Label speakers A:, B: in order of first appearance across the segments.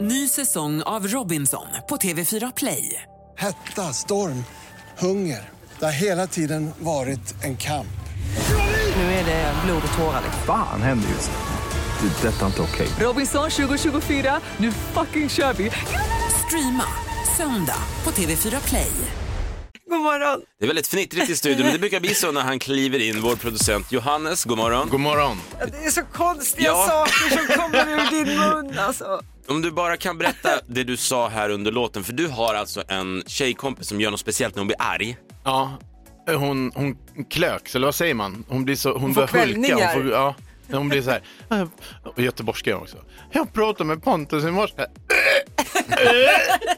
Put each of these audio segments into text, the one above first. A: Ny säsong av Robinson på TV4 Play.
B: Hetta, storm, hunger. Det har hela tiden varit en kamp.
A: Nu är det blod och tårar. liksom.
C: Fan händer just nu. Det. är Detta är inte okej.
A: Robinson 2024, nu fucking kör vi! Streama söndag på TV4 Play.
D: God morgon.
E: Det är väldigt fnittrigt i studion, men det brukar bli så när han kliver in, vår producent Johannes, god morgon.
F: God morgon.
D: Ja, Det är så konstiga
E: Ja.
D: saker som kommer ur din mun alltså.
E: Om du bara kan berätta det du sa här under låten, för du har alltså en tjejkompis som gör något speciellt när hon blir arg.
F: Ja, hon, hon klöks, eller vad säger man? Hon, blir så, hon,
D: får
F: börjar hulka.
D: kvällningar.
F: Hon, får, ja, när hon blir så här. Och göteborgska är hon också. Jag pratade med Pontus i morse.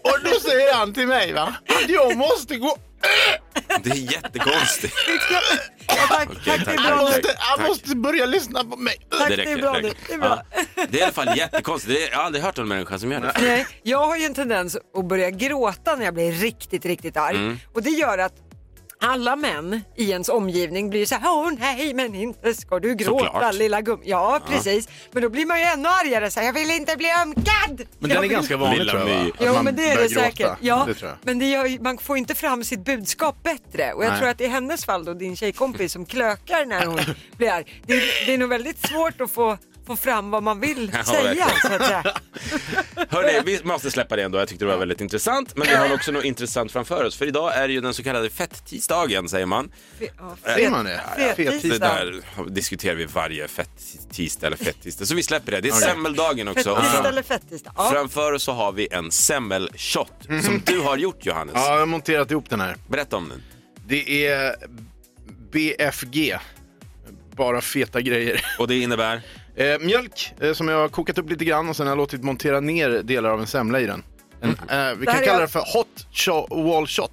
F: Och då säger han till mig va, att jag måste gå.
E: Det är jättekonstigt.
D: Ja, tack,
E: Okej,
D: tack, det är
E: tack,
D: bra
F: Han
E: tack,
D: nu.
F: måste,
E: Tack.
F: han måste börja lyssna på mig.
D: Tack, det är bra nu. Det är bra.
E: Ja. Det är i alla fall jättekonstigt, det är, jag har aldrig hört om en människa som gör det.
D: Nej, jag har ju en tendens att börja gråta när jag blir riktigt, riktigt arg.
F: Mm.
D: Och det gör att alla män i ens omgivning blir så här, åh nej men inte ska du gråta
E: Såklart.
D: lilla gum. Ja, precis. Men då blir man ju ännu argare så här, jag vill inte bly ömkad.
F: Men
D: jag
F: den är
D: vill...
F: ganska vanlig
E: Lilla
F: tror jag.
E: My.
F: va? Att
D: Jo
F: man
D: men det är
F: börjar
D: det
F: gråta.
D: säkert. Ja,
F: Det tror jag.
D: Men det gör, ju- man får inte fram sitt budskap bättre. Och jag
F: Nej.
D: tror att i hennes fall då, din tjejkompis som klökar när hon blir arg. Det, är- det är nog väldigt svårt att få, få fram vad man vill
E: Ja,
D: säga.
E: verkligen.
D: Så att säga.
E: Hörni, vi måste släppa det ändå. Jag tyckte det var väldigt intressant. Men vi har också något intressant framför oss. För idag är det ju den så kallade fettisdagen, säger man.
D: Fe- ja,
F: Säger man det? Fet
D: fet-
E: Det
D: tisdag.
E: där diskuterar vi varje fettisdag eller fettisdag. Så vi släpper det. Det är semmeldagen också. Och
D: Fettisdag
E: fram-
D: eller fettisdag? Ja.
E: Framför oss så har vi en semmelshot som du har gjort, Johannes.
F: Ja, jag har monterat ihop den här.
E: Berätta om den.
F: Det är BFG. Bara feta grejer.
E: Och det innebär?
F: Eh, mjölk eh, som jag har kokat upp lite grann och sen har jag låtit montera ner delar av en semla i den. En, eh, vi
D: Mm. Det här
F: kan
D: är-
F: kalla det för hot cho- wall shot.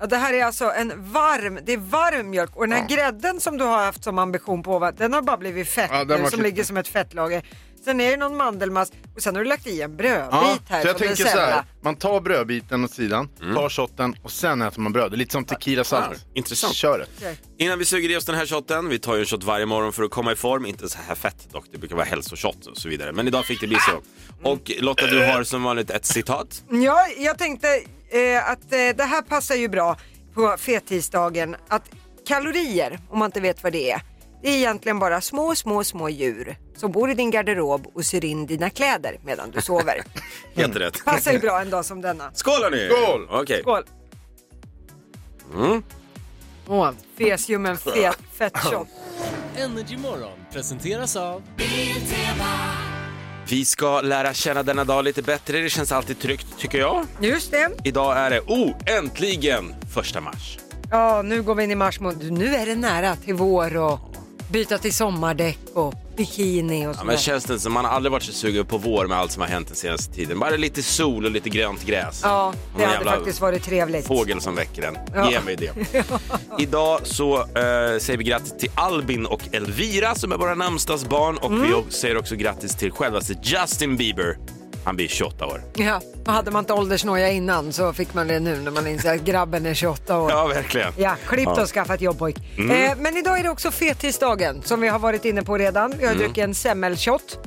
D: Ja, det här är alltså en varm, det är varm mjölk och den här grädden som du har haft som ambition på ovan, den har bara blivit fett
F: Ja, den
D: nu,
F: har
D: som
F: varit lite-
D: ligger som ett fettlager. Sen är det någon mandelmask och sen har du lagt i en brödbit
F: Ja,
D: här
F: så jag
D: från en
F: tänker så här,
D: semla.
F: man tar brödbiten åt sidan, tar shotten och sen äter man bröd. Det är lite som tequila salt.
E: intressant.
F: Kör det.
E: Innan vi suger i oss den här shotten, vi tar ju en shot varje morgon för att komma i form, inte så här fett dock, det brukar vara hälsoshot och så vidare. Men idag fick det bli så. Och Lotta, du har som vanligt ett citat.
D: Ja, jag tänkte eh, att eh, det här passar ju bra på fettisdagen. Att kalorier, om man inte vet vad det är, det är egentligen bara små, små, små djur som bor i din garderob och syr in dina kläder medan du sover.
E: Helt rätt.
D: Passar ju bra en dag som denna.
E: Skål hörni!
F: Skål!
E: Okej.
D: Skål!
E: Mm.
D: Åh, fesiumen fet, fett shot.
G: Energy Morgon presenteras av
E: Vi ska lära känna denna dag lite bättre, det känns alltid tryggt tycker jag.
D: Just det.
E: Idag är det, oh, äntligen första mars.
D: Ja, nu går vi in i mars månad. Nu är det nära till vår och byta till sommardäck och bikini och
E: Ja,
D: sådär.
E: men känns det inte som man har aldrig varit så sugen på vår med allt som har hänt den senaste tiden? Bara lite sol och lite grönt gräs.
D: Ja,
E: Och
D: det
E: någon
D: hade
E: jävla
D: faktiskt varit trevligt.
E: Fågel som väcker en.
D: Ja.
E: Ge mig det. Idag så eh, säger vi grattis till Albin och Elvira som är våra namnsdagsbarn och
D: Mm.
E: vi o- säger också grattis till självaste Justin Bieber. Han blir 28 år.
D: Ja, och hade man inte åldersnoja innan så fick man det nu när man inser att grabben är 28 år.
E: Ja, Mm. verkligen.
D: Ja, klippt och skaffat jobb pojk. Eh, men idag är det också fettisdagen som vi har varit inne på redan.
E: Mm.
D: Vi har druckit en semmelshot.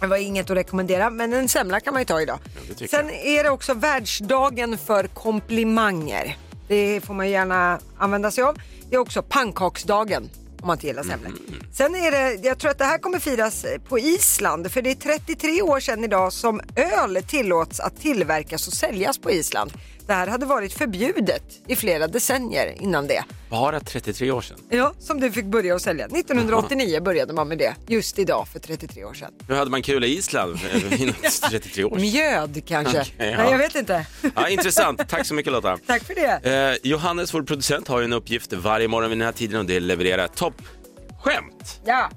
D: Det var inget att rekommendera, men en semla kan man ju ta idag.
E: det tycker
D: Sen är det också världsdagen för komplimanger. Det får man gärna använda sig av. Det är också pannkaksdagen om man inte gillar semlor.
E: Mm,
D: Sen är det, jag tror att det här kommer firas på Island för det är 33 år sedan idag som öl tillåts att tillverkas och säljas på Island. Det här hade varit förbjudet i flera decennier innan det.
E: Bara 33 år sedan.
D: Ja, som du fick börja att sälja. 1989 började man med det, just idag för 33 år sedan.
E: Hur hade man kul i Island eh, innan 33 år sedan?
D: Mjöd kanske?
E: Okej, ja.
D: Nej, jag vet inte.
E: Ja, intressant. Tack så mycket Lotta.
D: Tack för det.
E: Eh, Johannes, vår producent, har ju en uppgift varje morgon vid den här tiden och det är att leverera toppskämt.
D: Ja.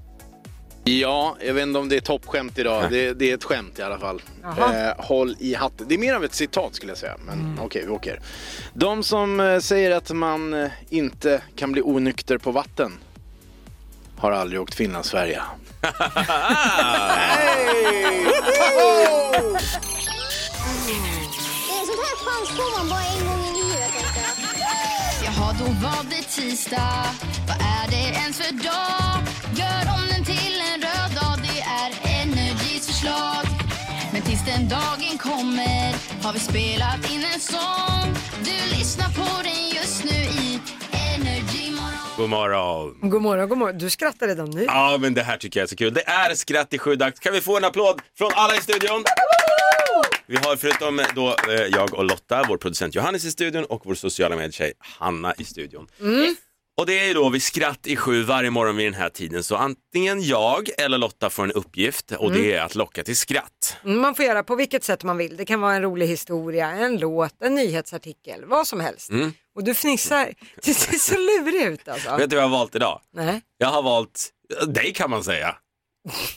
F: Ja, jag vet inte om det är toppskämt idag. Det, det är ett skämt i alla fall.
D: Jaha. Mm.
F: Eh, håll i hatten. Det är mer av ett citat skulle jag säga, men okej, vi åker. De som eh, säger att man eh, inte kan bli onykter på vatten har aldrig åkt Finland-Sverige.
H: Eh, Sånt här chans får man bara en gång i livet. tänkte jag.
I: Jaha, då var det tisdag. Vad är det ens för dag? Gör om den till en röd dag. Det är Energys förslag. Men tills tills den dagen kommer har vi spelat in en sång. Du lyssnar på den just nu i Energy Morgon.
E: God morgon.
D: God morgon, god morgon. Du skrattar redan nu.
E: Ja, men det här tycker jag är så kul. Det är skratt i sju dagar. Kan vi få en applåd från alla i studion? Vi har förutom då eh, jag och Lotta, vår producent Johannes i studion och vår sociala medietjej Hanna i studion. Och det är ju då vid skratt i sju varje morgon vid den här tiden så antingen jag eller Lotta får en uppgift och det är att locka till skratt.
D: Mm, Man får göra på vilket sätt man vill. Det kan vara en rolig historia, en låt, en nyhetsartikel, vad som helst. Och du fnissar. Du ser så lurig ut alltså.
E: Vet du vad Mm. jag har valt idag?
D: Nej.
E: Jag har valt eh, dig kan man säga.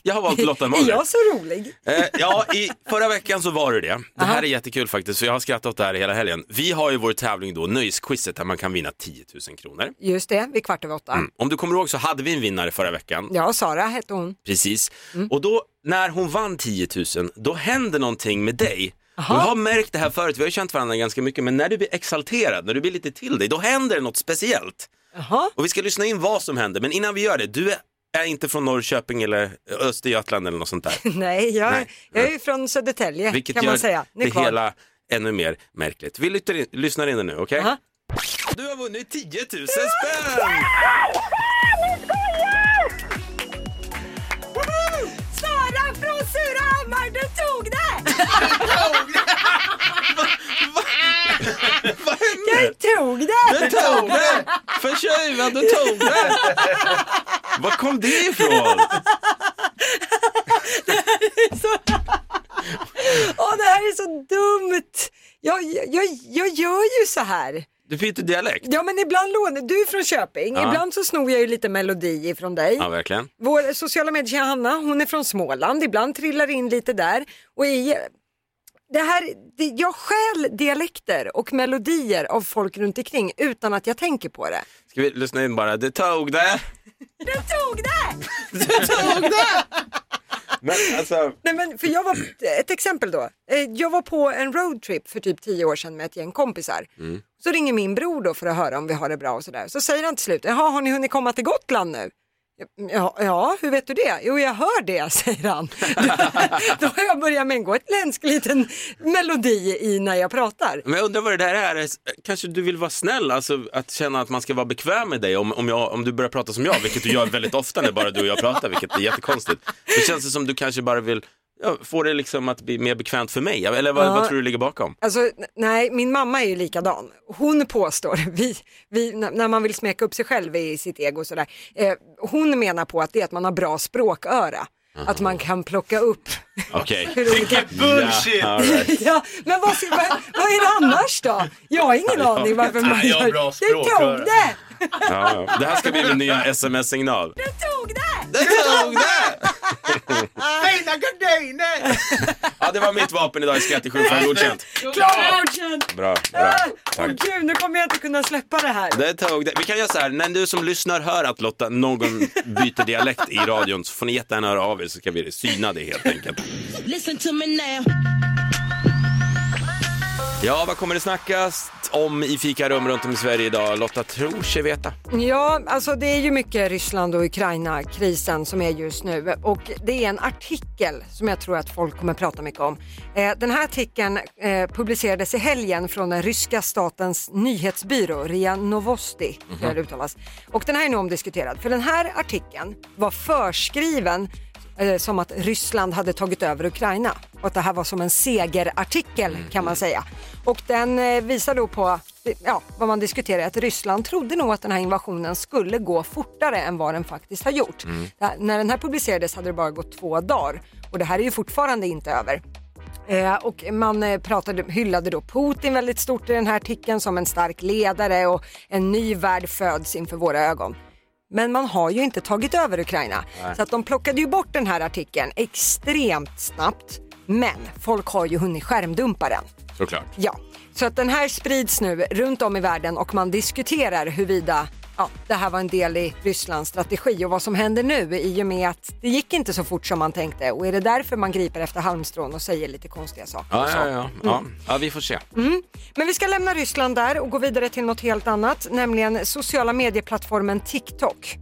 E: Jag har valt Lotta
D: Är
E: Möller.
D: jag så rolig?
E: Eh, ja, i förra veckan så var det det. Det här är jättekul faktiskt, för jag har skrattat åt det här hela helgen. Vi har ju vår tävling då, Nöjesquizet, där man kan vinna 10 000 kronor. Mm.
D: Just det, vid kvart över åtta.
E: Om du kommer ihåg så hade vi en vinnare förra veckan,
D: Ja, Sara hette hon.
E: precis.
D: Mm.
E: Och då, när hon vann 10 000, då händer någonting med dig. Och jag har märkt det här förut, vi har ju känt varandra ganska mycket, men när du blir exalterad, när du blir lite till dig, då händer det något speciellt.
D: Jaha.
E: Och vi ska lyssna in vad som händer, men innan vi gör det, du är, är inte från Norrköping eller Östergötland eller något sånt där.
D: Nej, jag,
E: Nej.
D: jag är ju från Södertälje
E: Vilket
D: kan
E: gör
D: man säga. Ni är
E: det
D: kvar.
E: hela ännu mer märkligt. Vi lytter in, lyssnar in det nu, okej?
D: Aha.
E: Du har vunnit 10 000 spänn!
D: Sara från Surahammar, du tog det!
E: Vad hände?
D: Jag tog det!
E: tog det! För tjuven, du tog det! Var kom det ifrån?
D: Åh, det här är så dumt! Jag, jag, jag gör ju så här.
E: Du byter dialekt.
D: Ja, men ibland lånar du är från Köping.
E: Ja.
D: Ibland så snor jag ju lite melodi ifrån dig.
E: Ja, verkligen.
D: Vår sociala medier Hanna, hon är från Småland. Ibland trillar in lite där. Och i, det här, det, jag stjäl dialekter och melodier av folk runt omkring utan att jag tänker på det.
E: Ska vi lyssna in bara? Du tog det!
D: Du tog det!
E: Men alltså,
D: Nej, men för jag var, ett exempel då. Eh, Jag var på en roadtrip för typ tio år sedan med ett gäng kompisar. Så ringer min bror då för att höra om vi har det bra och sådär. Så säger han till slut, jaha har ni hunnit komma till Gotland nu? Ja, ja, hur vet du det? Jo, jag hör det, säger han. Då har jag börjat med en gotländsk liten melodi i när jag pratar.
E: men jag undrar vad det där är. Kanske du vill vara snäll, alltså att känna att man ska vara bekväm med dig om, om, jag, om du börjar prata som jag, vilket du gör väldigt ofta när bara du och jag pratar, vilket är jättekonstigt. Det känns som du kanske bara vill ja, få det liksom att bli mer bekvämt för mig, eller vad, vad tror du ligger bakom?
D: Alltså, n- nej, min mamma är ju likadan. Hon påstår, vi, vi, n- när man vill smeka upp sig själv i sitt ego och sådär, eh, hon menar på att det är att man har bra språköra. Att man kan plocka upp
E: Okej.
D: hur olika...
E: Bullshit! Ja, all right.
D: Ja, men vad, ska- vad, vad är det annars då? Jag har ingen aning varför man
G: Nej, jag har
D: gör...
G: bra
D: jag
G: språkröra.
D: tog det!
E: ja, ja. Det här ska bli min nya sms-signal.
D: Jag tog det!
E: Det tog det! Ja, det var mitt vapen idag i skratt i sju för godkänt.
D: Klart godkänt!
E: Bra, bra.
D: Åh
E: Tack.
D: gud, nu kommer jag inte kunna släppa det här.
E: Det tog det. Vi kan göra så här, när du som lyssnar hör att Lotta någon byter dialekt i radion så får ni jättegärna höra av er så ska vi syna det helt enkelt. Ja, vad kommer det snackas om i fikarum runt om i Sverige idag? Lotta tror sig veta.
D: Ja, alltså det är ju mycket Ryssland och Ukraina-krisen som är just nu och det är en artikel som jag tror att folk kommer prata mycket om. Eh, den här artikeln eh, publicerades i helgen från den ryska statens nyhetsbyrå, RIA Novosti, tror jag det uttalas. Och den här är nu omdiskuterad, för den här artikeln var förskriven eh, som att Ryssland hade tagit över Ukraina och att det här var som en segerartikel kan man säga. Och den eh, visar då på eh, ja, vad man diskuterar, att Ryssland trodde nog att den här invasionen skulle gå fortare än vad den faktiskt har gjort. Det här- När den här publicerades hade det bara gått två dagar och det här är ju fortfarande inte över. Eh, och man eh, pratade, hyllade då Putin väldigt stort i den här artikeln som en stark ledare och en ny värld föds inför våra ögon. Men man har ju inte tagit över Ukraina. Så att de plockade ju bort den här artikeln extremt snabbt. Men folk har ju hunnit skärmdumpa den.
E: Såklart.
D: Ja, så att den här sprids nu runt om i världen och man diskuterar huruvida ja, det här var en del i Rysslands strategi och vad som händer nu i och med att det gick inte så fort som man tänkte och är det därför man griper efter halmstrån och säger lite konstiga saker.
E: Ja, ja, ja. Ja, ja vi får se.
D: Men vi ska lämna Ryssland där och gå vidare till något helt annat, nämligen sociala medieplattformen TikTok.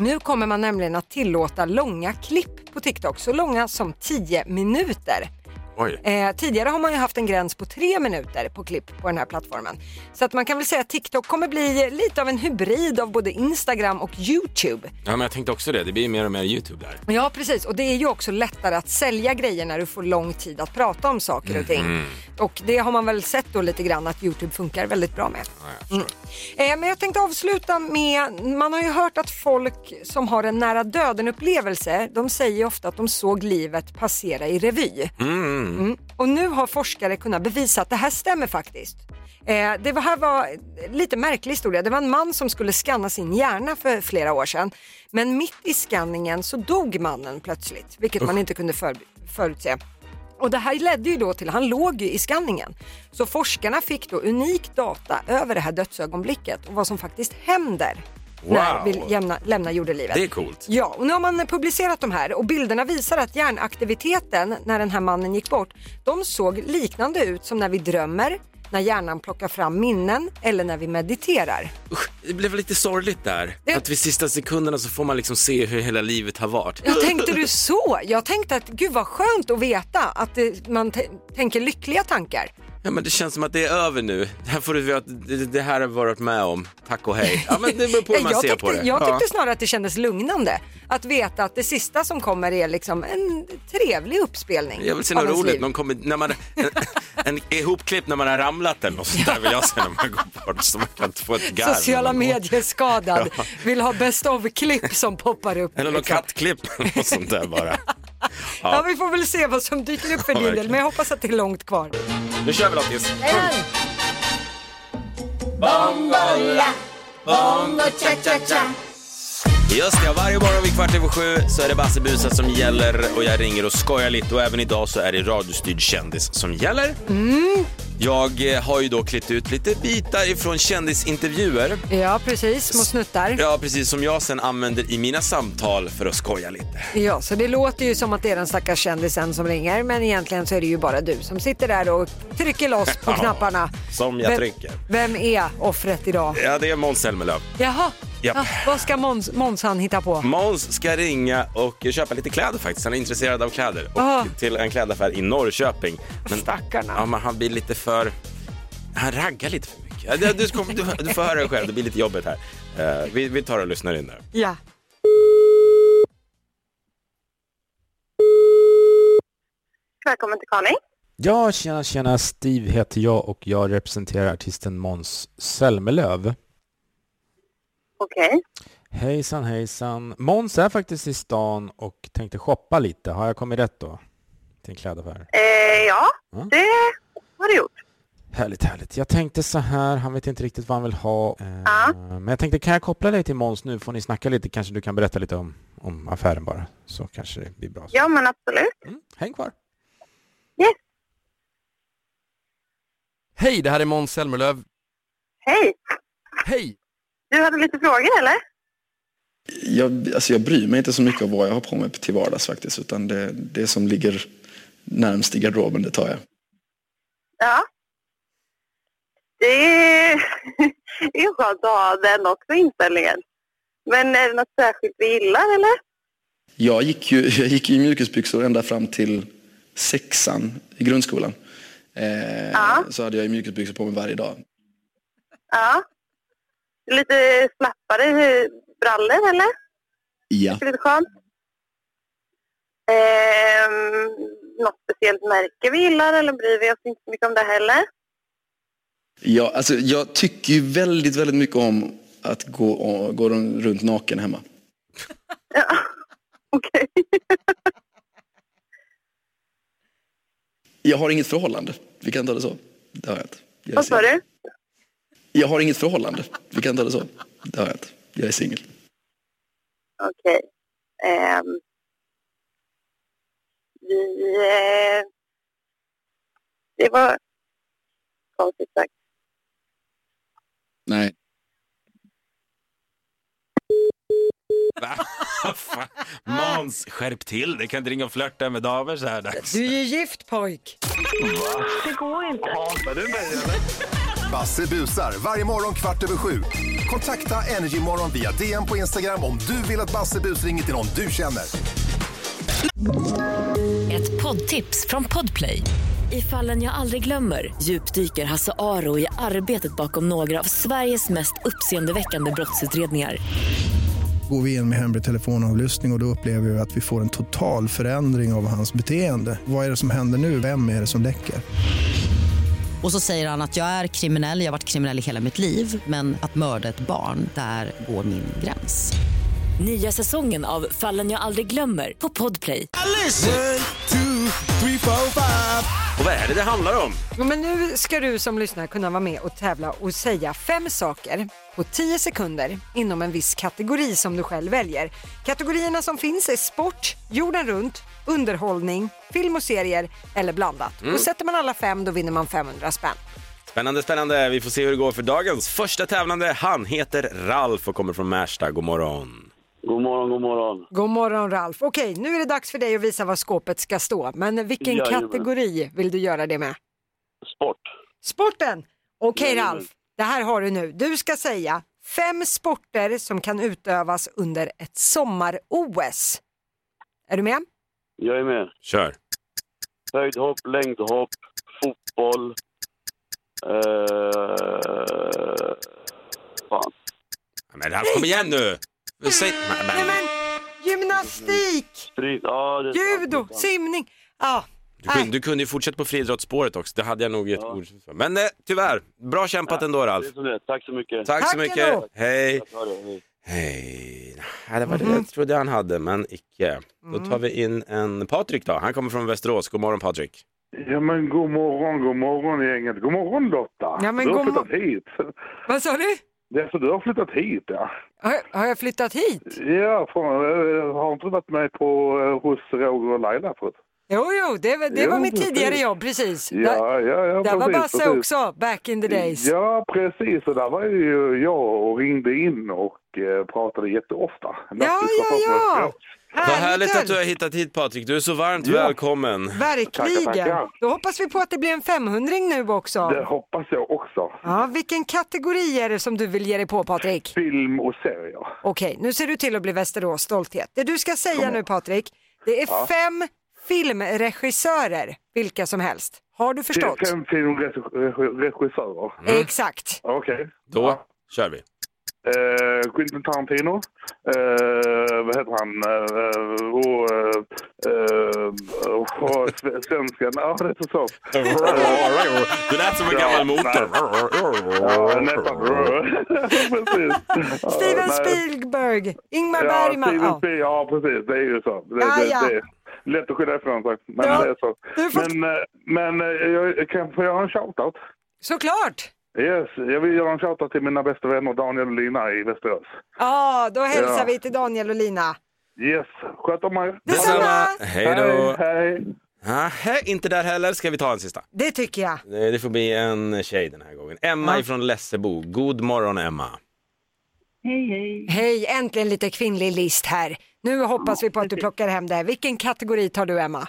D: Nu kommer man nämligen att tillåta långa klipp på TikTok, så långa som 10 minuter.
E: Oj.
D: Eh, tidigare har man ju haft en gräns på tre minuter på klipp på den här plattformen. Så att man kan väl säga att TikTok kommer bli lite av en hybrid av både Instagram och YouTube.
E: Ja, men jag tänkte också det. Det blir mer och mer YouTube där.
D: Ja, precis. Och det är ju också lättare att sälja grejer när du får lång tid att prata om saker och ting. Och det har man väl sett då lite grann att Youtube funkar väldigt bra med. Mm. Eh, men jag tänkte avsluta med, man har ju hört att folk som har en nära döden upplevelse, de säger ju ofta att de såg livet passera i revy. Mm. Och nu har forskare kunnat bevisa att det här stämmer faktiskt. Eh, det var, här var en lite märklig historia. Det var en man som skulle skanna sin hjärna för flera år sedan. Men mitt i skanningen så dog mannen plötsligt, vilket man inte kunde för, förutse. Och det här ledde ju då till, han låg ju i skanningen. Så forskarna fick då unik data över det här dödsögonblicket och vad som faktiskt händer när
E: Wow.
D: vi lämnar, lämnar jordelivet.
E: Det är coolt.
D: Ja, och nu har man publicerat de här och bilderna visar att hjärnaktiviteten när den här mannen gick bort, de såg liknande ut som när vi drömmer, när hjärnan plockar fram minnen eller när vi mediterar.
E: Usch, det blev lite sorgligt där.
D: Det-
E: Att vid sista sekunderna så får man liksom se hur hela livet har varit.
D: Ja, tänkte du så? Jag tänkte att gud vad skönt att veta att eh, man t- tänker lyckliga tankar.
E: Ja, men det känns som att det är över nu. Det här får du veta, det- det här har jag varit med om. Tack och hej. Ja, men det beror på hur man
D: Eh, jag
E: ser
D: tyckte,
E: på det.
D: jag
E: Ja.
D: tyckte snarare att det kändes lugnande att veta att det sista som kommer är liksom en trevlig uppspelning.
E: Jag vill se
D: av
E: något
D: ens
E: roligt.
D: liv.
E: Någon kommer, när man, en, en ihopklipp när man har ramlat eller något sånt där vill jag se när man går bort så man kan få ett garv. när
D: Sociala
E: man går.
D: medier-skadad, vill ha best of-klipp som poppar upp.
E: Eller något
D: liksom.
E: kattklipp eller något sånt där bara.
D: Ja. vi får väl se vad som dyker upp för
E: Ja,
D: din del,
E: verkligen.
D: men jag hoppas att det är långt kvar.
E: Nu kör vi Lottis. Just det, varje morgon vid kvart över sju så är det Basse som gäller och jag ringer och skojar lite och även idag så är det radiostyrd kändis som gäller. Jag eh, har ju då klippt ut lite bitar ifrån kändisintervjuer.
D: Ja, precis. Små snuttar. Ja.
E: Ja, precis som jag sen använder i mina samtal för att skoja lite.
D: så det låter ju som att det är den stackars kändisen som ringer, men egentligen så är det ju bara du som sitter där och trycker loss på
E: Ja,
D: knapparna.
E: som jag
D: Vem-
E: trycker.
D: Vem är offret idag?
E: Ja, det är Måns Zelmerlöw.
D: Jaha,
E: Japp.
D: ja, vad ska Måns- Månsan hitta på?
E: Måns ska ringa och köpa lite kläder faktiskt. Han är intresserad av kläder. Och
D: Ah.
E: till en klädaffär i Norrköping. Men,
D: Stackarna.
E: Ja, men han blir lite för... Han raggar lite för mycket. Ja, Du, du, ska- du, du får höra det själv, det blir lite jobbigt här. Eh, vi, vi tar och lyssnar in där.
D: Ja.
J: Välkommen till Kalix.
G: Ja, tjena, tjena. Steve heter jag och jag representerar artisten Måns Zelmerlöw.
J: Okej.
G: Hejsan, hejsan. Måns är faktiskt i stan och tänkte shoppa lite. Har jag kommit rätt då? Till en klädaffär.
J: Eh, ja, det har du gjort.
G: Härligt, härligt. Jag tänkte så här, han vet inte riktigt vad han vill ha. Eh, Men jag tänkte, kan jag koppla dig till Måns nu? Får ni snacka lite? Kanske du kan berätta lite om, om affären bara. Så kanske det blir bra.
J: Ja, men absolut.
G: Mm, häng kvar.
J: Yes.
K: Hej, det här är Måns Zelmerlöw.
J: Hej!
K: Hej!
J: Du hade lite frågor, eller?
K: Jag, alltså jag bryr mig inte så mycket om vad jag har på mig till vardags faktiskt, utan det, det som ligger närmst i garderoben, det tar jag.
J: Ja. Det är, det är skönt att ha den också inställningen. Men är det något särskilt vi gillar, eller?
K: Jag gick ju, jag gick ju i mjukisbyxor ända fram till sexan i grundskolan. Eh,
J: Ja.
K: Så hade jag ju mjukisbyxor på mig varje dag.
J: Ja. Lite slappare brallor, eller?
K: Ja.
J: Det är lite skönt. Ehm, något speciellt märke vi gillar, eller bryr vi oss inte så mycket om det heller?
K: Ja, alltså jag tycker ju väldigt, väldigt mycket om att gå, gå runt naken hemma.
J: Ja. Okej.
K: Jag har inget förhållande. Vi kan ta det så. Det har jag inte. Jag är
J: Vad sa
K: singel.
J: du?
K: Jag har inget förhållande. Vi kan ta det så. Det har jag inte. Jag är singel.
J: Okej. Ehm, vi... Eh, det var konstigt sagt.
K: Nej.
E: Va? Fan. Måns, skärp till Det kan inte ringa och flörta med damer så här dags.
D: Du är ju gift pojk.
L: Basse busar varje morgon kvart över sju. Kontakta Energymorgon via DM på Instagram om du vill att Basse bus ringer till någon du känner.
M: Ett poddtips från Podplay. I fallen jag aldrig glömmer djupdyker Hasse Aro i arbetet bakom några av Sveriges mest uppseendeväckande brottsutredningar.
N: Går vi in med hemlig telefonavlyssning och, och då upplever vi att vi får en total förändring av hans beteende. Vad är det som händer nu? Vem är det som läcker?
O: Och så säger han att jag är kriminell, jag har varit kriminell i hela mitt liv men att mörda ett barn, där går min gräns.
M: Nya säsongen av Fallen jag aldrig glömmer på Podplay.
E: Och vad är det det handlar om?
D: Ja, men nu ska du som lyssnar kunna vara med och tävla och säga fem saker på 10 sekunder inom en viss kategori som du själv väljer. Kategorierna som finns är sport, jorden runt, underhållning, film och serier eller blandat.
E: Mm.
D: Och sätter man alla fem då vinner man 500 spänn.
E: Spännande, spännande. Vi får se hur det går för dagens första tävlande. Han heter Ralf och kommer från Märsta. God morgon.
P: God morgon, god morgon.
D: God morgon Ralf. Okej, nu är det dags för dig att visa vad skåpet ska stå. Men vilken
P: Jajamän.
D: kategori vill du göra det med?
P: Sport.
D: Sporten! Okej
P: Jajamän.
D: Ralf, det här har du nu. Du ska säga fem sporter som kan utövas under ett sommar-OS. Är du med?
P: Jag är med.
E: Kör.
P: Höjdhopp, längdhopp, fotboll. Eh, fan.
E: Men Ralf, kom igen nu! Säg... Men, men.
D: Gymnastik,
P: Fri- Ja, det är sant,
Q: Mm.
P: det är
D: judo,
P: sant.
D: simning. Ja, Äh.
E: Du, kunde, du kunde ju fortsätta på friidrottsspåret också. Det hade jag nog gett ord för. Men eh, tyvärr, bra kämpat
P: Ja,
E: ändå Ralf.
P: det är som det är. Tack så mycket.
E: Tack så mycket.
P: ändå.
E: Hej.
P: Jag tar det, hej.
E: Hej. Nej, det var det jag trodde han hade, men icke. Då tar vi in en Patrik då. Han kommer från Västerås. God morgon Patrik.
Q: Ja men god morgon, god morgon gänget. God morgon Lotta.
D: Ja, men
Q: du har
D: god
Q: flyttat hit.
D: Vad sa du?
Q: Det är så du har flyttat hit ja.
D: har, har jag flyttat hit?
Q: Ja, fan, jag har inte varit med på eh, hos Roger och Laila förut?
D: Jo, jo, det, var- det
Q: Jo,
D: var mitt
Q: precis.
D: tidigare jobb, precis.
Q: Ja, ja, ja.
D: Där var
Q: precis,
D: Basse
Q: precis.
D: också, back in the days.
Q: Ja, precis. Och där var ju jag och ringde in och eh, pratade jätteofta.
D: Ja, ja, ja.
E: Vad härligt att du har hittat hit Patrik. Du är så varmt välkommen.
D: Verkligen. Då hoppas vi på att det blir en 500 nu också.
Q: Det hoppas jag också.
D: Ja, vilken kategori är det som du vill ge dig på Patrik?
Q: Film och serier.
D: Okej, nu ser du till att bli Västerås stolthet. Det du ska säga nu Patrik, det är
Q: Ja.
D: fem filmregissörer, vilka som helst. Har du förstått?
Q: Det är Fem Mm. filmregissörer.
D: Exakt.
Q: Okej.
E: Då kör vi.
Q: Eh, Quentin Tarantino. Eh, vad heter han? Eh, och... eh, eh, och sve- svensken. Ja, det är så svårt.
E: Det lät som en gammal motor.
Q: Ja, nästan. precis.
D: Steven
Q: nej.
D: Spielberg, Ingmar
Q: ja,
D: Bergman.
Q: Steven
D: Ja.
Q: Spiel- ja, precis. Det är ju så. Det,
D: Ja,
Q: det,
D: ja.
Q: det är lätt att skylla ifrån sig. Men
D: Ja,
Q: det är så. Men, eh, men eh, jag, kan, får jag ha en shoutout?
D: Såklart!
Q: Yes, jag vill göra en shoutout till mina bästa vänner Daniel och Lina i Västerås.
D: Ja, då hälsar
Q: Ja.
D: vi till Daniel och Lina.
Q: Yes, sköt om er.
E: Detsamma. Hej då.
Q: Hej.
E: Nähä, inte där heller. Ska vi ta en sista?
D: Det tycker jag.
E: Nej, Eh, Det får bli en tjej den här gången. Emma ifrån Lessebo. God morgon Emma.
D: Hej, hej. Hej, äntligen lite kvinnlig list här. Nu hoppas vi på att du plockar hem det här. Vilken kategori tar du, Emma?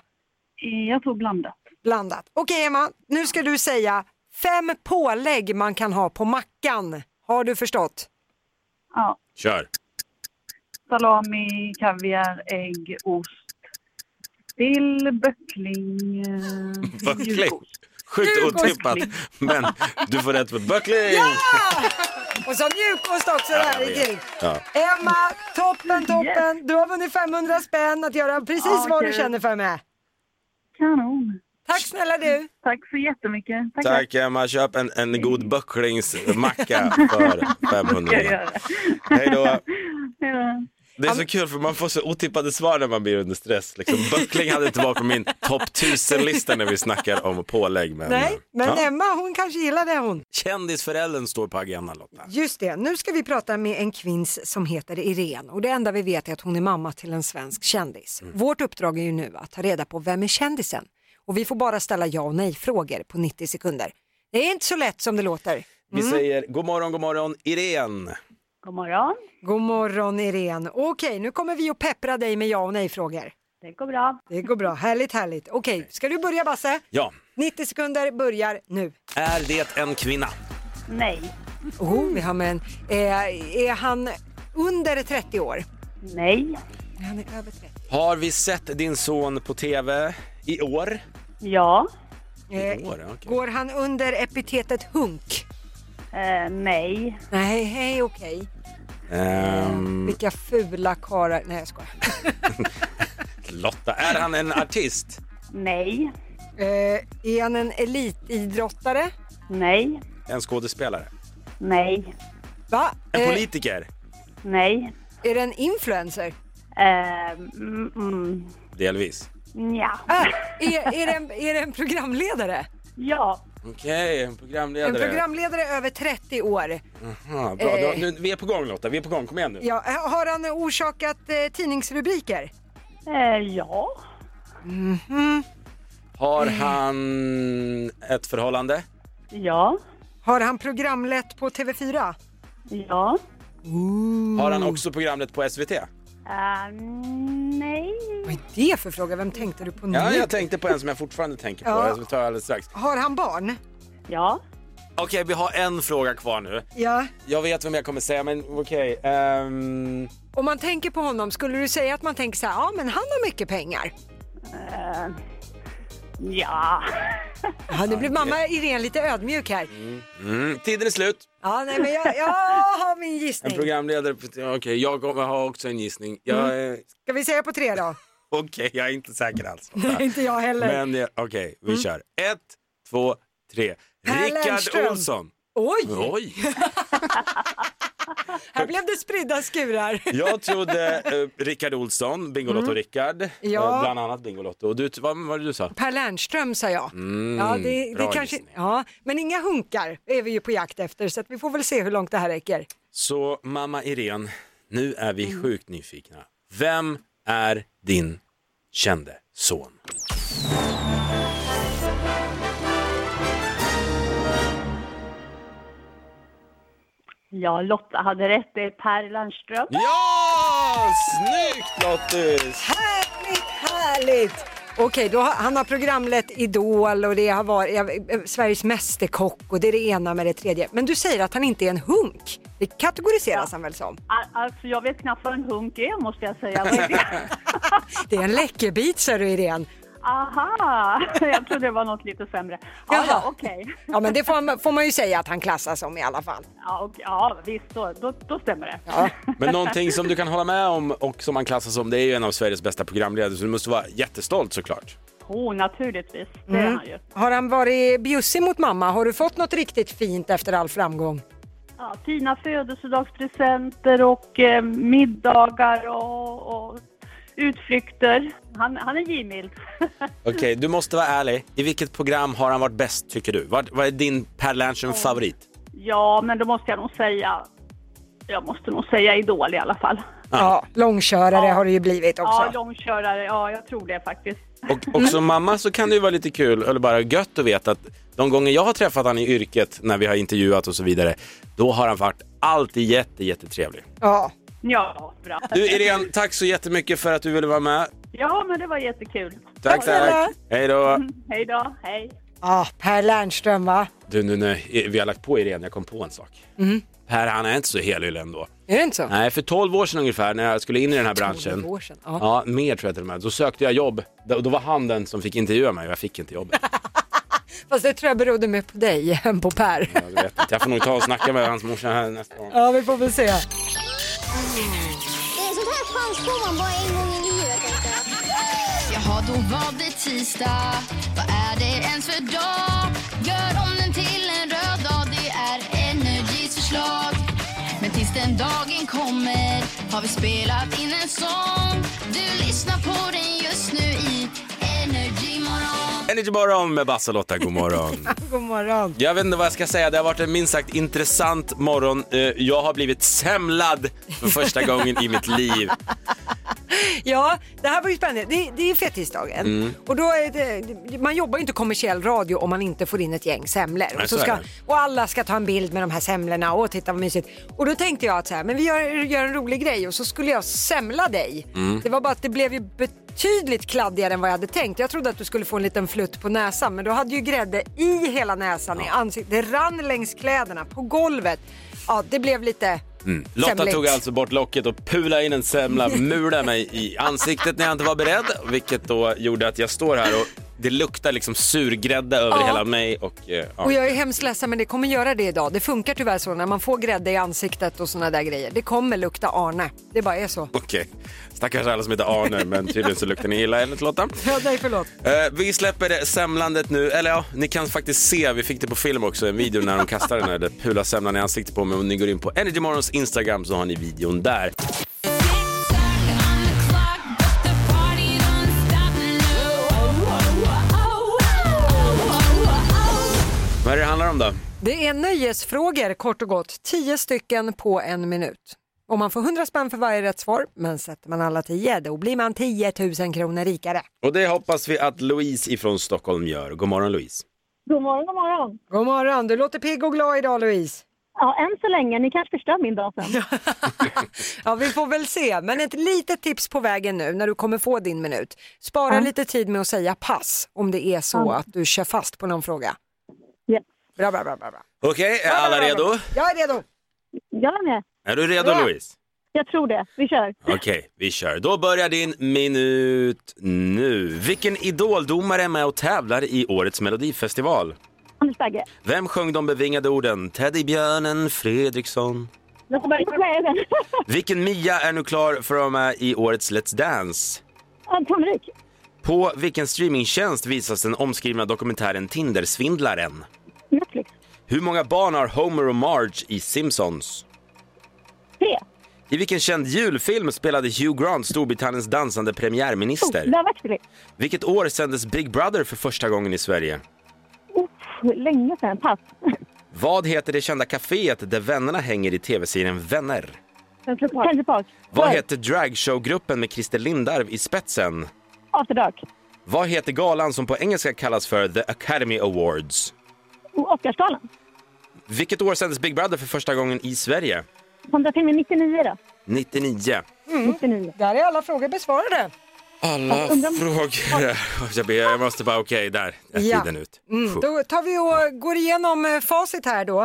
R: Jag tror blandat.
D: Blandat. Okej, Emma, nu ska du säga fem pålägg man kan ha på mackan. Har du förstått?
R: Ja,
E: Kör.
R: salami, kaviar, ägg, ost. Dill, böckling, eh,
E: Böckling.
R: julgost.
E: Sjukt
R: Julgost.
E: otippat. Men du får rätt för böckling.
D: Ja! Och så mjukost också
E: Ja,
D: där
E: jag
D: i
E: vet.
D: till.
E: Ja.
D: Emma, toppen, toppen. Du har vunnit 500 spänn att göra precis vad du
R: Okej.
D: känner för med.
R: Kanon.
D: Tack snälla du.
R: Tack så jättemycket. Tack.
E: Tack Emma, köp en, en god böcklingsmacka för 500.
R: Ska jag göra.
E: Hej då.
R: Hej då.
E: Det är så kul för man får så otippade svar när man blir under stress. Liksom, böckling hade inte varit på min topp 1000-lista när vi snackar om pålägg. Men,
D: Nej, men
E: ja.
D: Emma hon kanske gillar det hon.
E: Kändisföräldern står på agendan Lotta.
D: Just det, nu ska vi prata med en kvinns som heter Irene och det enda vi vet är att hon är mamma till en svensk kändis. Vårt uppdrag är ju nu att ta reda på vem är kändisen och vi får bara ställa ja och nej frågor på 90 sekunder. Det är inte så lätt som det låter.
E: Vi säger god morgon, god morgon Irene.
D: God morgon. God morgon Irene. Okej, nu kommer vi att peppra dig med ja och nej-frågor. Det går bra. Det går bra. Härligt, härligt. Okej, ska du börja Basse?
E: Ja,
D: 90 sekunder börjar nu.
E: är det en kvinna?
D: Nej. Oh, vi har med en. Eh, är han under 30 år? Nej. Han är över 30.
E: Har vi sett din son på TV i år?
R: Ja.
D: Eh,
E: I år, okej.
D: Går han under epitetet hunk?
R: Eh, nej.
D: Nej, hej, okej.
E: Ehm,
D: Vilka fula karlar. Nej, jag skojar.
E: Lotta, är han en artist?
D: Nej. Eh, är han en elitidrottare?
R: Nej.
E: En skådespelare?
R: Nej.
D: Va?
E: En
D: Eh,
E: politiker?
R: Nej.
D: Är det en influencer?
R: mm, mm,
E: Delvis.
R: nja.
D: Ah, är, är, det en, är det en programledare?
R: Ja.
E: Okej, en
D: En
E: programledare.
D: programledare över 30 år.
E: Aha, bra. Då,
D: Eh.
E: nu, vi är på gång Lotta, vi är på gång. Kom igen nu.
D: Ja, eh, har han orsakat eh, tidningsrubriker?
R: Eh, ja.
E: Har han ett förhållande?
R: Ja.
D: Har han programlett på TV4?
R: Ja.
E: Har han också programmet på SVT?
R: Eh, nej.
D: Vad är det för fråga? Vem tänkte du på nu?
E: Ja, jag tänkte på en som jag fortfarande tänker på.
D: Mm. Ja.
E: Jag tar alldeles strax.
D: Har han barn?
R: Ja.
E: Okej, vi har en fråga kvar nu.
D: Ja.
E: Jag vet vem jag kommer säga, men okej. ehm,
D: Om man tänker på honom, skulle du säga att man tänker så här, ja men han har mycket pengar?
R: ja.
D: Ja, nu blev mamma Irene lite ödmjuk här.
E: mm, tiden är slut.
D: Ja, nej men jag, jag har min
E: En
D: gissning.
E: programledare... på- Okej, jag kommer- har också en gissning.
D: Mm.
E: Jag är...
D: Ska vi säga på tre då?
E: Okej, jag är inte säker alls.
D: Nej, inte jag heller.
E: Men eh, okej, vi
D: Mm.
E: kör. Ett, två, tre.
D: Per
E: Rickard
D: Lernström.
E: Olsson.
D: Oj!
E: Oj!
D: Här blev det spridda skurar.
E: Jag trodde eh, Rickard Olsson, Bingolotto
D: Mm.
E: Rickard,
D: Ja.
E: eh, bland annat Bingolotto. Och du, vad var det du sa?
D: Per Lernström sa jag.
E: Mm,
D: ja, det, det
E: bra
D: kanske,
E: gissning.
D: ja, men inga hunkar är vi ju på jakt efter så att vi får väl se hur långt det här räcker.
E: Så mamma Irene, nu är vi
D: Mm.
E: sjukt nyfikna. Vem är din kände son?
R: Ja, Lotta hade rätt. Det är Per Lernström.
E: Ja! Snyggt Lottis!
D: Härligt, härligt! Okej, då har, han har programlett Idol och det har varit ja, eh, Sveriges Mästerkock och det är det ena med det tredje. Men du säger att han inte är en hunk. Det kategoriseras han väl som?
R: Al- Alltså, jag vet knappt vad en hunk är, måste jag säga. Vad är det?
D: Det är en läckerbit sa du Irene.
R: Aha! Jag trodde det var något lite sämre. Ja, ja okej.
D: Ja men det får, man- får man ju säga att han klassas som i alla fall.
R: Ja, och, ja, visst, då, då, då stämmer det.
E: Men någonting som du kan hålla med om och som man klassas som, det är ju en av Sveriges bästa programledare så du måste vara jättestolt såklart.
R: Oh, naturligtvis. Det är
D: Mm.
R: han ju.
D: Har han varit bjussig mot mamma? Har du fått något riktigt fint efter all framgång?
R: Ja, fina födelsedagspresenter och eh, middagar och, och utflykter. Han, han är givmild.
E: Okej, du måste vara ärlig. I vilket program har han varit bäst tycker du? Vad, vad är din Per Lernström-favorit?
R: Ja, men då måste jag nog säga... Jag måste nog säga Idol i alla fall.
D: Ja, långkörare har det ju blivit också.
R: Ja, långkörare. Ja, jag tror det faktiskt.
E: Och, och som mamma så kan det ju vara lite kul, eller bara gött att veta att de gånger jag har träffat han i yrket när vi har intervjuat och så vidare, då har han varit alltid jätte, jättetrevlig.
D: Ja.
R: Ja, bra.
E: Du Irene, tack så jättemycket för att du ville vara med.
R: Ja, men det var jättekul.
E: Tack, tack. Hej då.
R: Hej då. Hej.
D: Ah, per Lernström va?
E: Du, nu när vi har lagt på Irene, jag kom på en sak.
D: Mm.
E: Per, han är inte så helyll ändå.
D: Är det inte så?
E: Nej, för 12 år sedan ungefär när jag skulle in i den här branschen.
D: 12 år sedan, ja.
E: Ja, mer tror jag till och med. Då sökte jag jobb. Då då var han den som fick intervjua mig och jag fick inte jobbet.
D: Fast det tror jag berodde mer på dig än på Per.
E: Jag, vet inte. jag får nog ta och snacka med hans morsa här nästa gång.
D: Ja, vi får väl se.
H: Det är sånt här chans får man bara en gång i livet. Tänkte jag.
I: Jaha, då var det tisdag. Vad är det ens för dag? Gör om den till en röd dag. Det är Energys förslag. Men tills den dagen kommer har vi spelat in en sång. Du lyssnar på den just nu i Energy morgon.
E: Energy morgon med Basse och Lotta, god morgon.
D: God morgon.
E: Jag vet inte vad jag ska säga, det har varit en minst sagt intressant morgon. Eh, Jag har blivit semlad för första gången i mitt liv.
D: Ja, det här var ju spännande. Det, det är fettisdagen.
E: Mm.
D: Och då är det, man jobbar ju inte kommersiell radio om man inte får in ett gäng semlor.
A: Nej,
D: och, så
A: så är
D: ska,
A: det.
D: och alla ska ta en bild med de här semlorna och titta vad mysigt. Och då tänkte jag att så här, men vi gör, gör en rolig grej och så skulle jag semla dig.
A: Mm.
D: Det var bara att det blev ju betydligt kladdigare än vad jag hade tänkt. Jag trodde att du skulle få en liten flutt på näsan men då hade ju grädde i hela näsan, i ansiktet. Det rann längs kläderna, på golvet. Ja, det blev lite
E: Mm. Lotta
D: Semligt.
E: tog alltså bort locket och pula in en semla, mula mig i ansiktet när jag inte var beredd, vilket då gjorde att jag står här och det luktar liksom surgrädde över
D: Ja.
E: hela mig och eh, ja.
D: Och jag är hemskt ledsen men det kommer göra det idag. Det funkar tyvärr så när man får grädde i ansiktet och sådana där grejer. Det kommer lukta Arne. Det bara är så.
E: Okej, stackars alla som heter Arne, men tydligen så luktar ni illa enligt Lotta.
D: Ja, nej förlåt.
E: Eh, vi släpper det semlandet nu, eller ja, ni kan faktiskt se, vi fick det på film också, en video när de kastar den här där pula semlan i ansiktet på mig. Om ni går in på Energy Morgons Instagram så har ni videon där. Vad är det det handlar om då?
D: Det är nöjesfrågor kort och gott. Tio stycken på en minut. Och man får 100 spänn för varje rätt svar. Men sätter man alla tio då blir man 10 000 kronor rikare.
E: Och det hoppas vi att Louise ifrån Stockholm gör. God morgon Louise.
D: God morgon, god morgon. God morgon. Du låter pigg och glad idag Louise. Ja, än så länge. Ni kanske förstör min dag sen. ja, vi får väl se. Men ett litet tips på vägen nu när du kommer få din minut. Spara lite tid med att säga pass om det är så
E: Ja.
D: att du kör fast på någon fråga. Bra, bra, bra, bra. bra.
E: Okej, är alla redo?
D: Jag är redo. Jag är med.
E: Är du redo
D: Ja.
E: Louise?
D: Jag tror det. Vi kör.
E: Okej, vi kör. Då börjar din minut nu. Vilken idoldomare är med och tävlar i årets melodifestival?
S: Anders Bagge.
E: Vem sjöng de bevingade orden Teddybjörnen Fredriksson?
S: Jag får bara inte med den.
E: Vilken Mia är nu klar för att vara med i årets Let's Dance?
S: Ja, Tom Ryk.
E: På vilken streamingtjänst visas den omskrivna dokumentären Tindersvindlaren?
S: Netflix.
E: Hur många barn har Homer och Marge i Simpsons?
S: Tre.
E: I vilken känd julfilm spelade Hugh Grant Storbritanniens dansande premiärminister?
S: Oh, där växte vi.
E: Vilket år sändes Big Brother för första gången i Sverige?
S: Oh, länge sedan. Pass.
E: Vad heter det kända kaféet där vännerna hänger i tv-serien Vänner?
S: Central Park. Central Park.
E: Vad
S: Oj,
E: hette dragshowgruppen med Christer Lindarw i spetsen?
S: After Dark.
E: Vad heter galan som på engelska kallas för The Academy Awards?
S: Oh, Oscarsgalan.
E: Vilket år sändes Big Brother för första gången i Sverige?
S: Kom där till med 99 då.
E: 99.
D: Mm. Där är alla frågor besvarade.
E: Alla
D: Jag undrar om-
E: frågor. eh, Jag, ber, jag måste bara, okej, där är
D: Ja.
E: tiden ut.
D: Mm. Då tar vi och går igenom eh, facit här då.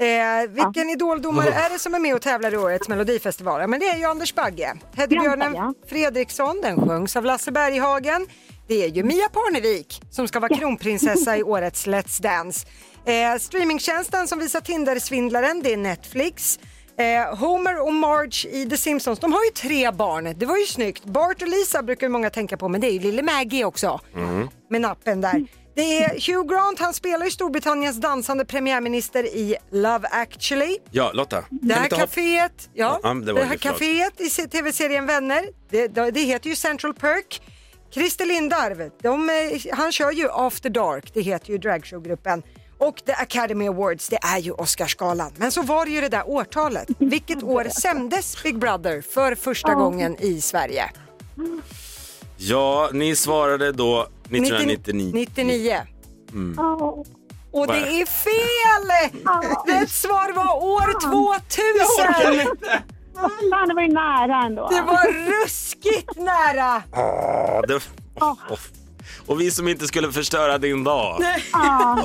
D: Eh, vilken idoldomare är det som är med och tävlar i årets melodifestival? Ja, Men det är ju Anders Bagge. Teddybjörnen Fredriksson, den sjöngs av Lasse Berghagen. Det är ju Mia Parnevik som ska vara kronprinsessa i årets Let's Dance. Eh, streamingtjänsten som visar Tinder-svindlaren, det är Netflix. Eh, Homer och Marge i The Simpsons, de har ju tre barn. Det var ju snyggt. Bart och Lisa brukar ju många tänka på, men det är ju lille Maggie också
S: Mm.
D: med nappen där. Det är Hugh Grant, han spelar ju Storbritanniens dansande premiärminister i Love actually.
E: Ja, Lotta.
D: Det
E: kan vi
D: här
E: inte hoppa-
D: kaféet, ja,
E: Ja, det
D: det,
E: var
D: här
E: ju förlåt.
D: kaféet i se- tv-serien Vänner, det, det det heter ju Central Perk. Christer Lindarw, de, eh, han kör ju After Dark, det heter ju dragshowgruppen. Och The Academy Awards, det är ju Oscarsgalan. Men så var det ju det där årtalet. Vilket år sändes Big Brother för första gången i Sverige?
E: Ja, ni svarade då 1999.
D: 99.
E: Mm.
D: Och
E: Vad är
D: det är fel! Rätt svar var år 2000!
S: Fan, det var ju nära ändå.
D: Det var ruskigt nära!
E: Ah, det... Och vi som inte skulle förstöra din dag.
D: Nej.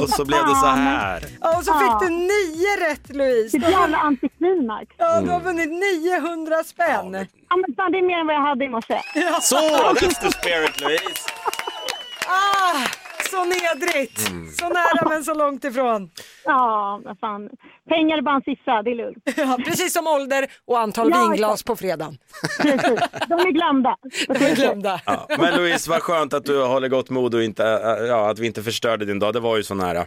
E: Och så blev det så här.
D: Ja, och så
S: Ja.
D: fick du nio rätt Louise.
S: Det är jävla antiklimax.
D: Ja, du har
E: Mm.
D: vunnit 900 spänn.
S: Ja, men fan, det är mer än vad jag hade i morse.
E: Så, that's the spirit Louise.
D: Ah, så nedrigt!
E: Mm.
D: Så nära men så långt ifrån.
S: Ja, vad fan. Pengar är bara en siffra, det är lugnt.
D: Ja, precis som ålder och antal
S: Ja,
D: vinglas
S: exakt.
D: på fredagen.
S: Precis. De är glömda.
D: De är glömda.
E: Ja, men Louise, vad skönt att du håller gott mod och inte, äh, ja, att vi inte förstörde din dag. Det var ju äh, så nära.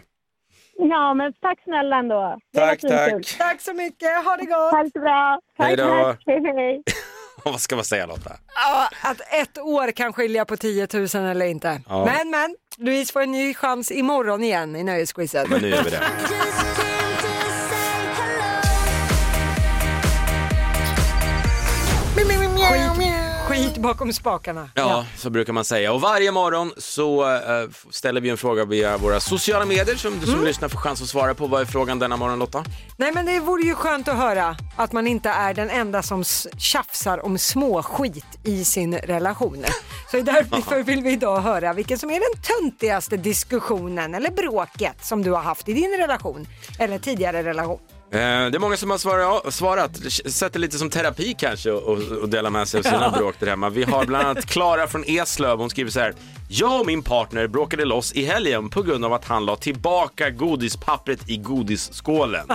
S: Ja, men tack snälla ändå. Det
E: Tack,
S: var svinkul.
E: tack.
D: Tack så mycket, ha det gott!
S: Ha det så bra.
E: Hej då.
S: Tack, Hej, hej.
E: vad ska man säga Lotta?
D: Ja, att ett år kan skilja på 10 000 eller inte.
E: Ja.
D: Men, men, Louise får en ny chans imorgon igen i nöjesquizet.
E: Men nu gör vi det.
D: Skit, skit bakom spakarna.
E: Ja, så brukar man säga. Och varje morgon så eh, f- ställer vi en fråga via våra sociala medier som du som lyssnar får chans att svara på. Vad är frågan denna morgon Lotta?
D: Nej men det vore ju skönt att höra att man inte är den enda som s- tjafsar om småskit i sin relation. Så därför vill vi idag höra vilken som är den töntigaste diskussionen eller bråket som du har haft i din relation eller tidigare relation.
E: Eh, Det är många som har svara- svarat. Sätt det lite som terapi kanske och, och dela med sig av sina
T: Ja.
E: bråk där hemma. Vi har bland annat Klara från Eslöv. Hon skriver så här. Jag och min partner bråkade loss i helgen på grund av att han la tillbaka godispappret i godisskålen.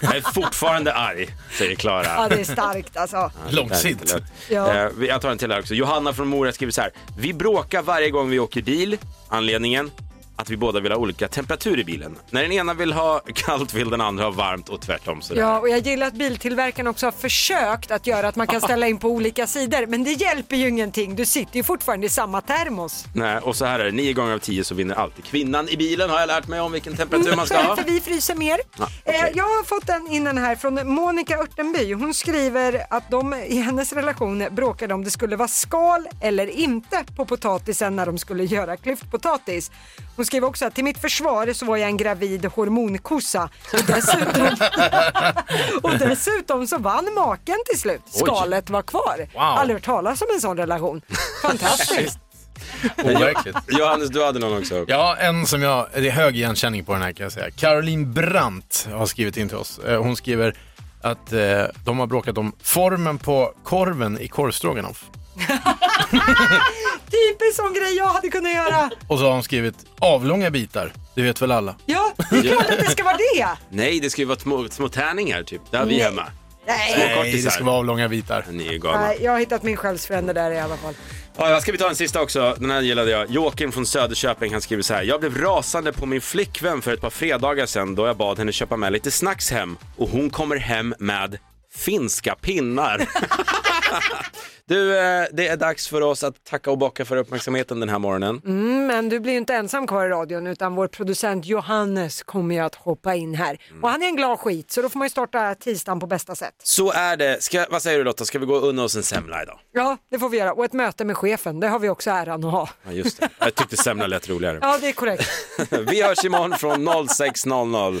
E: Jag är fortfarande arg, säger Klara.
D: Ja, det är starkt alltså.
E: Ja, det där är inte lätt.
D: Ja.
E: Eh, vi- Jag tar en till här också. Johanna från Mora skriver så här. Vi bråkar varje gång vi åker bil. Anledningen? Att vi båda vill ha olika temperatur i bilen. När den ena vill ha kallt vill den andra ha varmt och tvärtom. Sådär.
D: Ja, och jag gillar att biltillverkaren också har försökt att göra att man kan ställa in på olika sidor. Men det hjälper ju ingenting. Du sitter ju fortfarande i samma termos.
E: Nej, och så här är det, nio gånger av tio så vinner alltid kvinnan i bilen har jag lärt mig om vilken temperatur man ska ha.
D: För vi fryser mer.
E: Ja,
D: Eh, Jag har fått en innan här från Monica Örtenby. Hon skriver att de i hennes relation bråkade om det skulle vara skal eller inte på potatisen när de skulle göra klyftpotatis. Hon skriver också att till mitt försvar så var jag en gravid hormonkossa och dessutom, och dessutom så vann maken till slut.
E: Oj.
D: Skalet var kvar.
E: Wow.
D: Aldrig hört talas om en sån relation. Fantastiskt.
U: Overkligt.
E: Johannes, du hade någon också.
U: Ja, en som jag, det är hög igenkänning på den här kan jag säga. Caroline Brandt har skrivit in till oss. Eh, Hon skriver att eh, de har bråkat om formen på korven i korvstroganoff.
D: Typiskt sån grej jag hade kunnat göra.
U: Och så har hon skrivit avlånga bitar, det vet väl alla.
D: Ja, det är klart att det ska vara det.
E: Nej, det ska ju vara små, små tärningar typ. Det har vi
D: Nej.
E: hemma.
D: Nej.
E: Små
D: Nej,
E: kortisar.
U: det ska vara avlånga bitar.
E: Ni är galna.
D: Nej, jag har hittat min själsfrände där i alla fall.
E: Ja, jag ska vi ta en sista också. Den här gillade jag. Joakim från Söderköping han skriver så här. Jag blev rasande på min flickvän för ett par fredagar sedan då jag bad henne köpa med lite snacks hem och hon kommer hem med finska pinnar. du, eh, det är dags för oss att tacka och bocka för uppmärksamheten den här morgonen.
D: Mm, men du blir ju inte ensam kvar i radion utan vår producent Johannes kommer ju att hoppa in här.
E: Mm.
D: Och han är en glad skit så då får man ju starta tisdagen på bästa sätt.
E: Så är det. Ska, vad säger du Lotta, ska vi gå och unna oss en semla idag?
D: Ja, det får vi göra. Och ett möte med chefen, det har vi också äran att ha.
E: Ja, just det. Jag tyckte semla lät roligare.
D: Ja, det är korrekt.
E: vi hörs imorgon från 06.00.